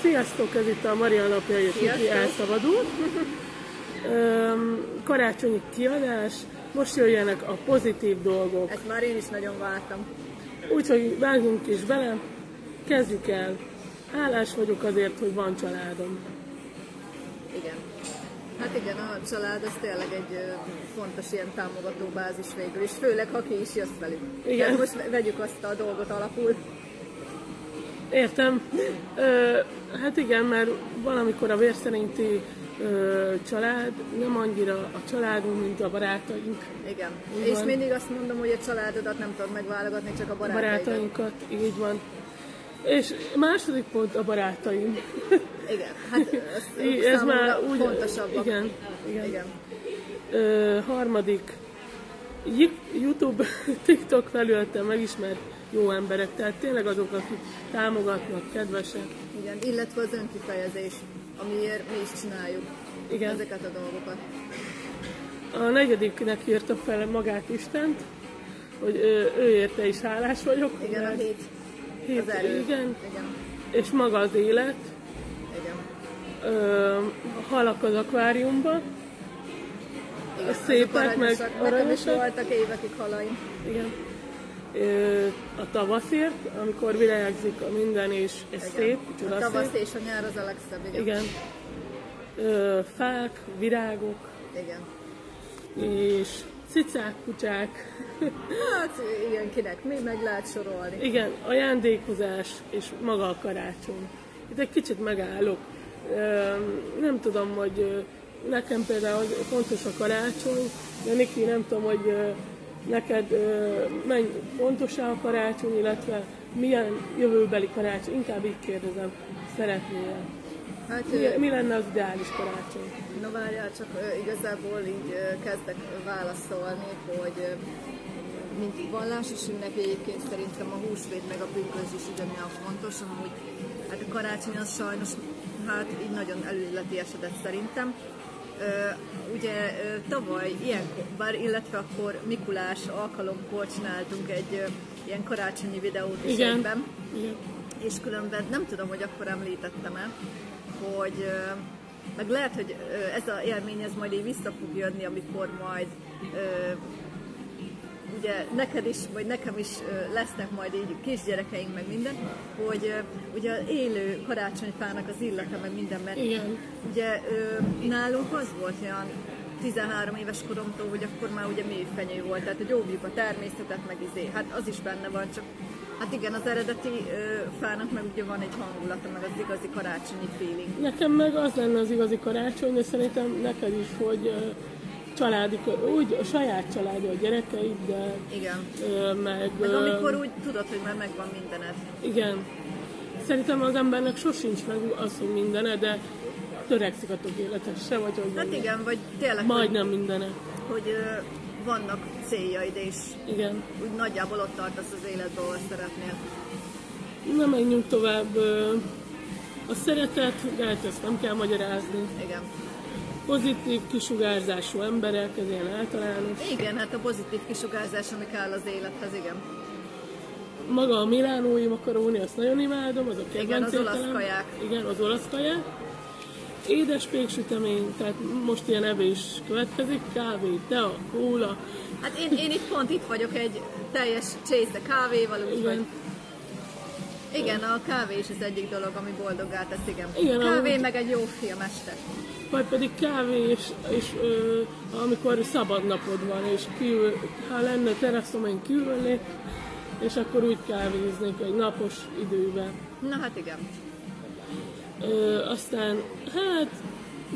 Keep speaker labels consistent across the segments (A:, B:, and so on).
A: Sziasztok, ez itt a Marian napjai, aki
B: Sziasztok.
A: elszabadul. Öm, Karácsonyi kiadás, most jöjjenek a pozitív dolgok.
B: Ezt már én is nagyon vártam.
A: Úgyhogy vágjunk is bele, kezdjük el. Hálás vagyok azért, hogy van családom.
B: Igen. Hát igen, a család az tényleg egy ö, fontos ilyen támogató bázis végül, és főleg, ha ki is jössz velük.
A: Igen.
B: Tehát most ve- vegyük azt a dolgot alapul.
A: Értem. Ö, hát igen, mert valamikor a vérszerinti ö, család nem annyira a családunk, mint a barátaink.
B: Igen.
A: Így
B: és
A: van.
B: mindig azt mondom, hogy a családodat nem tudod megválogatni, csak a
A: A
B: barátaidat.
A: barátainkat, így van. És második pont a barátaim.
B: Igen. Hát ez,
A: Í- Ez már úgy
B: fontosabbak.
A: Igen, igen.
B: igen.
A: Ö, harmadik. Yik- YouTube, TikTok felültem megismert jó emberek, tehát tényleg azok, akik támogatnak, kedvesek.
B: Igen, illetve az önkifejezés, amiért mi is csináljuk
A: Igen.
B: ezeket a dolgokat.
A: A negyediknek írta fel magát Istent, hogy ő, ő érte is hálás vagyok.
B: Igen, a
A: mert
B: hét,
A: hét-
B: az erő.
A: igen,
B: igen,
A: és maga az élet.
B: igen.
A: Ö, halak az akváriumban.
B: igen. azok
A: szépek, meg
B: aranyosak. Nekem is
A: aranyosak.
B: voltak évekig halaim.
A: Igen. Ö, a tavaszért, amikor virágzik a minden, és ez
B: Igen.
A: szép,
B: a
A: csodaszép.
B: tavasz és a nyár az a legszebb, igen.
A: Igen. Ö, fák, virágok,
B: igen.
A: és cicák, kutyák.
B: Hát igen, kinek mi meg lehet sorolni.
A: Igen, ajándékozás és maga a karácsony. Itt egy kicsit megállok. Ö, nem tudom, hogy ö, nekem például az- fontos a karácsony, de Niki, nem tudom, hogy ö, neked ö, menny, fontos a karácsony, illetve milyen jövőbeli karácsony, inkább így kérdezem, szeretnél.
B: Hát
A: Mi,
B: ö,
A: mi lenne az ideális karácsony?
B: na várjál, csak ö, igazából így ö, kezdek válaszolni, hogy ö, mint vallás is ünnepi egyébként szerintem a húsvét meg a pünkös is ugyanilyen fontos, amúgy hát a karácsony az sajnos hát így nagyon előletiesedett szerintem. Ö, ugye ö, tavaly ilyenkor, bár illetve akkor Mikulás alkalomkor csináltunk egy ö, ilyen karácsonyi videót is
A: Igen.
B: egyben.
A: Igen.
B: és különben nem tudom, hogy akkor említettem-e, hogy ö, meg lehet, hogy ö, ez a élmény ez majd így vissza fog jönni, amikor majd ö, ugye neked is, vagy nekem is ö, lesznek majd így kisgyerekeink, meg minden, hogy ö, ugye az élő karácsonyfának az illata, meg minden, mert
A: Igen.
B: ugye ö, nálunk az volt olyan 13 éves koromtól, hogy akkor már ugye mélyfenyő volt, tehát hogy óvjuk a természetet, meg izé, hát az is benne van, csak hát igen, az eredeti ö, fának meg ugye van egy hangulata, meg az igazi karácsonyi feeling.
A: Nekem meg az lenne az igazi karácsony, de szerintem neked is, hogy ö, családi, kö- úgy a saját családja a gyerekeiddel,
B: Igen.
A: ö, meg...
B: Meg
A: ö,
B: amikor úgy tudod, hogy már megvan mindened.
A: Igen. Szerintem az embernek sosincs meg az, hogy mindene, de törekszik a tökéletesre, vagy hogy
B: Hát
A: mondják.
B: igen, vagy tényleg, hogy,
A: Majdnem mindene.
B: hogy ö, vannak céljaid, és
A: Igen.
B: úgy nagyjából ott tartasz az életben, ahol szeretnél.
A: Na, menjünk tovább. ö, A szeretet, de hát ezt nem kell magyarázni.
B: Igen.
A: Pozitív, kisugárzású emberek, ez ilyen általános.
B: Igen, hát a pozitív kisugárzás, ami kell az élethez, igen.
A: Maga a milánói makaróni, azt nagyon imádom, az a kedvenc
B: Igen, az olasz
A: ételem.
B: kaják.
A: Igen, az olasz kaják. Édes péksütemény, tehát most ilyen evés következik, kávé, tea, kóla,
B: Hát én, én itt pont itt vagyok egy teljes csésze kávéval, úgyhogy...
A: igen,
B: Igen, a kávé is az egyik dolog, ami boldoggá tesz, igen.
A: Igen,
B: kávé
A: amúgy-
B: meg egy jó film este.
A: vagy pedig kávé, és, és ö, amikor szabad napod van, és kívül, ha lenne teraszom, én kívülnék, és akkor úgy kávéznék egy napos időben.
B: Na hát igen.
A: Ö, aztán, hát,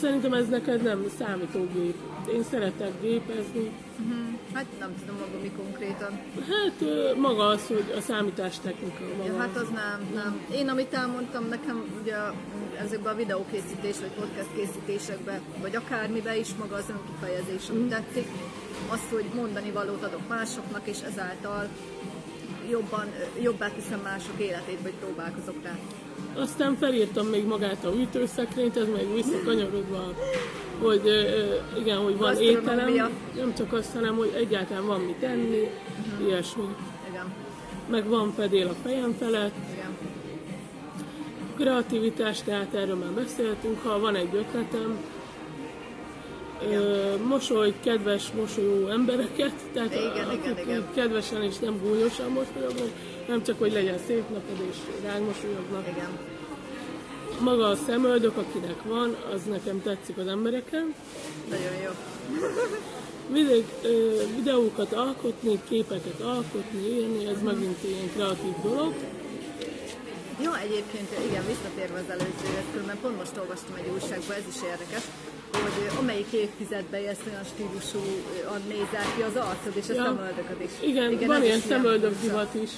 A: szerintem ez neked nem számítógép. Én szeretek gépezni,
B: Hát nem tudom maga mi konkrétan.
A: Hát ö, maga az, hogy a számítástechnika maga.
B: Ja, hát az nem, nem. Én amit elmondtam, nekem ugye ezekben a videókészítés, vagy podcast készítésekben, vagy akármiben is maga az önkifejezés, ami tetszik. Az, hogy mondani valót adok másoknak, és ezáltal jobban, jobbá teszem mások életét, vagy próbálkozok rá.
A: Aztán felírtam még magát a ütőszekrényt, ez még visszakanyarodva, hogy ö, ö, igen, hogy van
B: Gasztronómia.
A: ételem, nem csak azt, hanem, hogy egyáltalán van mit enni, ilyesmi.
B: Igen,
A: Meg van fedél a fejem felett,
B: igen.
A: Kreativitás, tehát erről már beszéltünk, ha van egy ötletem, ö, mosoly, kedves, mosolyó embereket, tehát
B: Igen,
A: a-
B: igen,
A: akik
B: igen.
A: kedvesen és nem gúnyosan mosolyognak, nem csak, hogy legyen szép napod és ránk mosolyognak.
B: Igen.
A: Maga a szemöldök, akinek van, az nekem tetszik az embereken.
B: Nagyon jó.
A: Mindig ö, videókat alkotni, képeket alkotni, írni,
B: Mhm.
A: ez megint ilyen kreatív dolog.
B: Jó, egyébként igen, visszatérve az előzőhöz, különben pont most olvastam egy újságban, ez is érdekes, hogy ö, amelyik évtizedben jössz olyan stílusúan nézel ki az arcod és a
A: Ja.
B: szemöldököd is.
A: Igen, igen van
B: ez
A: ilyen
B: is
A: szemöldök
B: furcsa.
A: divat is.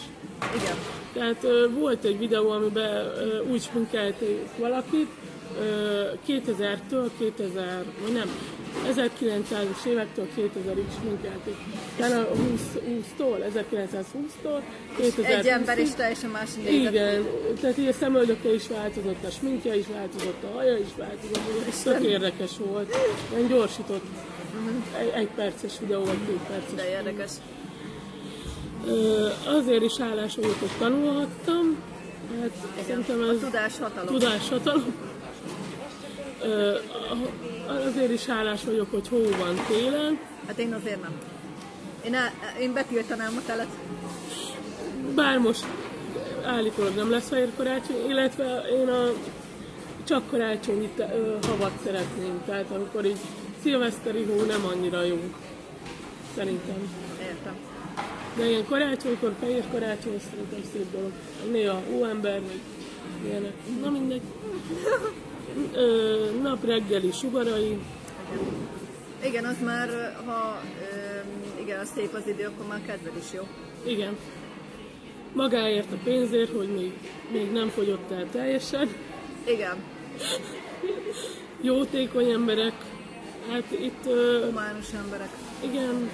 B: Igen,
A: Tehát ö, volt egy videó, amiben ö, úgy sminkelték valakit, ö, 2000-től 2000, vagy nem, 1900-as évektől 2000-ig sminkelték. Utána 20, 20-tól, 1920-tól, 2020-ig.
B: egy ember és teljesen más nézet.
A: Igen, tehát így a szemöldöke is változott, a sminkje is változott, a haja is változott, és tök érdekes volt. Ilyen gyorsított, egy, egy perces videó, vagy két perces.
B: De érdekes.
A: Ö, azért is állás vagyok, hogy tanulhattam. Hát szerintem
B: A
A: ez
B: tudás hatalom.
A: tudáshatalom. Ö, a- Azért is hálás vagyok, hogy hó van télen.
B: Hát én azért nem. Én, el, én betiltanám a telet.
A: Bár most állítólag nem lesz fehér karácsony, illetve én a csak karácsonyi te- ö, havat szeretném. Tehát amikor így szilveszteri hó nem annyira jó. Szerintem.
B: Értem.
A: De ilyen karácsonykor, fehér karácsony, az szerintem szép dolog. Néha hóember, meg ilyenek. Na mindegy. Ö, nap reggeli sugarai.
B: Igen, az már, ö, ha öm, igen, az szép az idő, akkor már kedved is jó.
A: Igen. Magáért a pénzért, hogy még, még nem fogyott el teljesen.
B: Igen,
A: Jótékony emberek. Hát itt ö,
B: humánus emberek.
A: igen,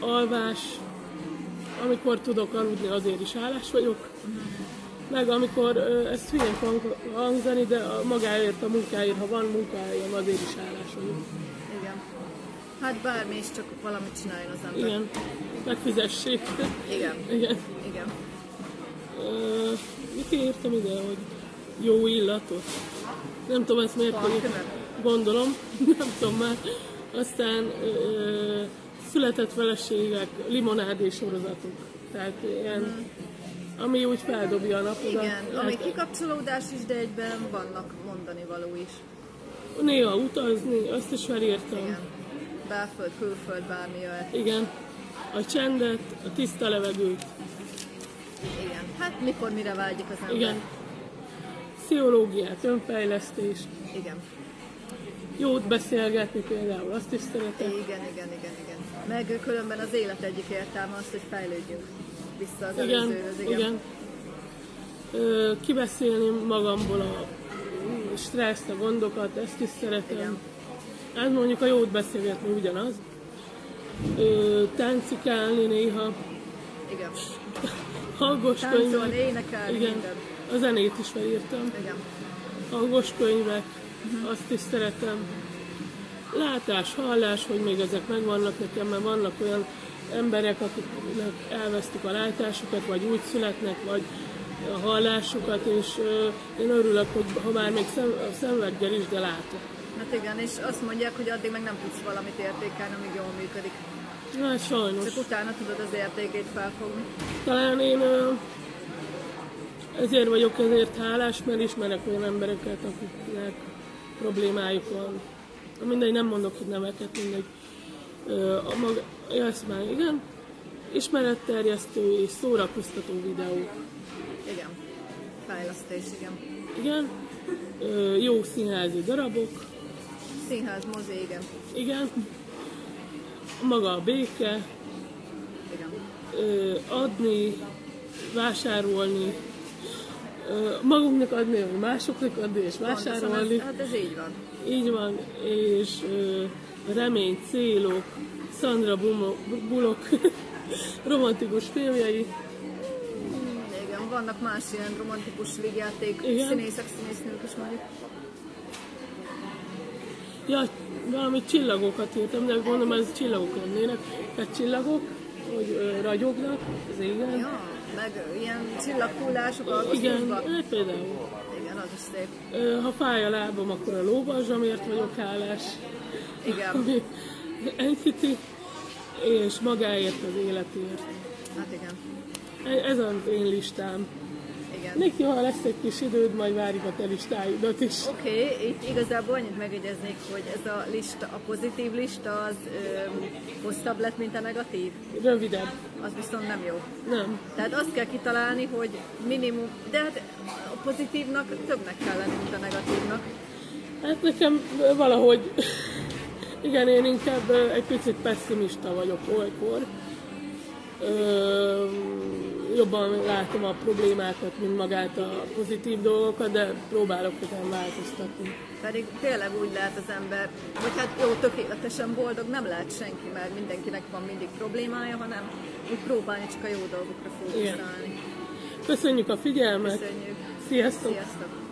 A: alvás, amikor tudok aludni, azért is állás vagyok. Meg amikor, ö, ez hülyén fog hangzani, de a magáért, a munkáért, ha van munkája, azért is állás vagyok.
B: Igen. Hát bármi is, csak valamit csináljon az ember.
A: Igen, megfizessék.
B: Igen.
A: Igen.
B: Igen.
A: Ö, mit írtam ide, hogy jó illatot? Nem tudom ezt miért hogy
B: Parfümet?
A: gondolom, nem tudom már. Aztán ö, született feleségek, limonádé sorozatok. Tehát ilyen, ami úgy feldobja a napodat.
B: Hmm. Igen, ami
A: Hát,
B: kikapcsolódás is, de egyben vannak mondani való is.
A: Néha utazni, azt is felírtam.
B: Igen. Belföld, külföld, bármi jöhet.
A: Igen. A csendet, a tiszta levegőt.
B: Igen. Hát mikor mire vágyik az ember.
A: Igen. Pszichológiát, önfejlesztést.
B: Igen.
A: Jót beszélgetni például, azt is szeretem.
B: Igen, igen, igen, igen. Meg különben az élet egyik értelme az, hogy fejlődjünk vissza az
A: Igen,
B: előzőhöz.
A: igen. Ö, kibeszélni magamból a mm, stresszt, a gondokat, ezt is szeretem.
B: Igen.
A: Hát mondjuk a jót beszélgetni ugyanaz. Ö, táncikálni néha,
B: igen.
A: hangos
B: Táncolni,
A: könyvek.
B: énekelni,
A: Igen,
B: minden.
A: a zenét is felírtam.
B: Igen.
A: Hangos könyvek, azt is szeretem. Látás, hallás, hogy még ezek megvannak nekem, mert vannak olyan emberek, akiknek elvesztik a látásukat, vagy úgy születnek, vagy a hallásukat, és ö, én örülök, hogy ha már még szem, a szemüveggel is, de látok.
B: Hát igen, és azt mondják, hogy addig meg nem tudsz valamit értékelni, amíg jól működik.
A: Na, hát sajnos.
B: Csak utána tudod az értékét felfogni.
A: Talán én ö, ezért vagyok ezért hálás, mert ismerek olyan embereket, akiknek problémájuk van. Na Mindegy, nem mondok itt neveket, mindegy. Ö, a maga, ja, ezt már igen. Ismeretterjesztő és szórakoztató videó.
B: Igen. Fejlesztés, igen.
A: Igen. Ö, jó színházi darabok.
B: Színház, mozi, igen.
A: Igen. Maga a béke.
B: Igen.
A: Ö, adni, vásárolni. Ö, magunknak adni, vagy másoknak adni és
B: Pontosan
A: vásárolni.
B: ez- Hát ez így van.
A: Így van, és ö, remény, célok, Sandra Bumo- Bu- Bullock romantikus filmjei,
B: Igen, vannak más ilyen romantikus vigyáték,
A: Igen.
B: színészek, színésznők is mondjuk.
A: ja, valami csillagokat írtam, de Hát gondolom ez csillagok lennének, tehát csillagok, hogy ö, ragyognak az égen,
B: Ja. meg ilyen csillagkullások a
A: Igen,
B: kisba.
A: hát például.
B: Igen, az is szép.
A: Ö, Ha fáj a lábam, akkor a lóbalzsamért vagyok hálás.
B: Igen,
A: Ami enyhíti, és magáért az életért.
B: hát igen.
A: E- Ez az én listám.
B: Igen.
A: Neki, ha lesz egy kis időd, majd várjuk a te listáidat is.
B: Oké, okay, itt igazából annyit megjegyeznék, hogy ez a lista, a pozitív lista az ö, hosszabb lett, mint a negatív.
A: Rövidebb.
B: Az viszont nem jó.
A: Nem.
B: Tehát azt kell kitalálni, hogy minimum, de hát a pozitívnak többnek kell lenni, mint a negatívnak.
A: Hát nekem ö, valahogy, igen, én inkább ö, egy picit pessimista vagyok olykor. Ö, jobban látom a problémákat, mint magát a pozitív dolgokat, de próbálok ezen változtatni.
B: Pedig tényleg úgy lehet az ember, hogy hát jó, tökéletesen boldog nem lehet senki, mert mindenkinek van mindig problémája, hanem úgy próbálni csak a jó dolgokra fókuszálni.
A: Köszönjük a figyelmet!
B: Köszönjük!
A: Sziasztok!
B: Sziasztok!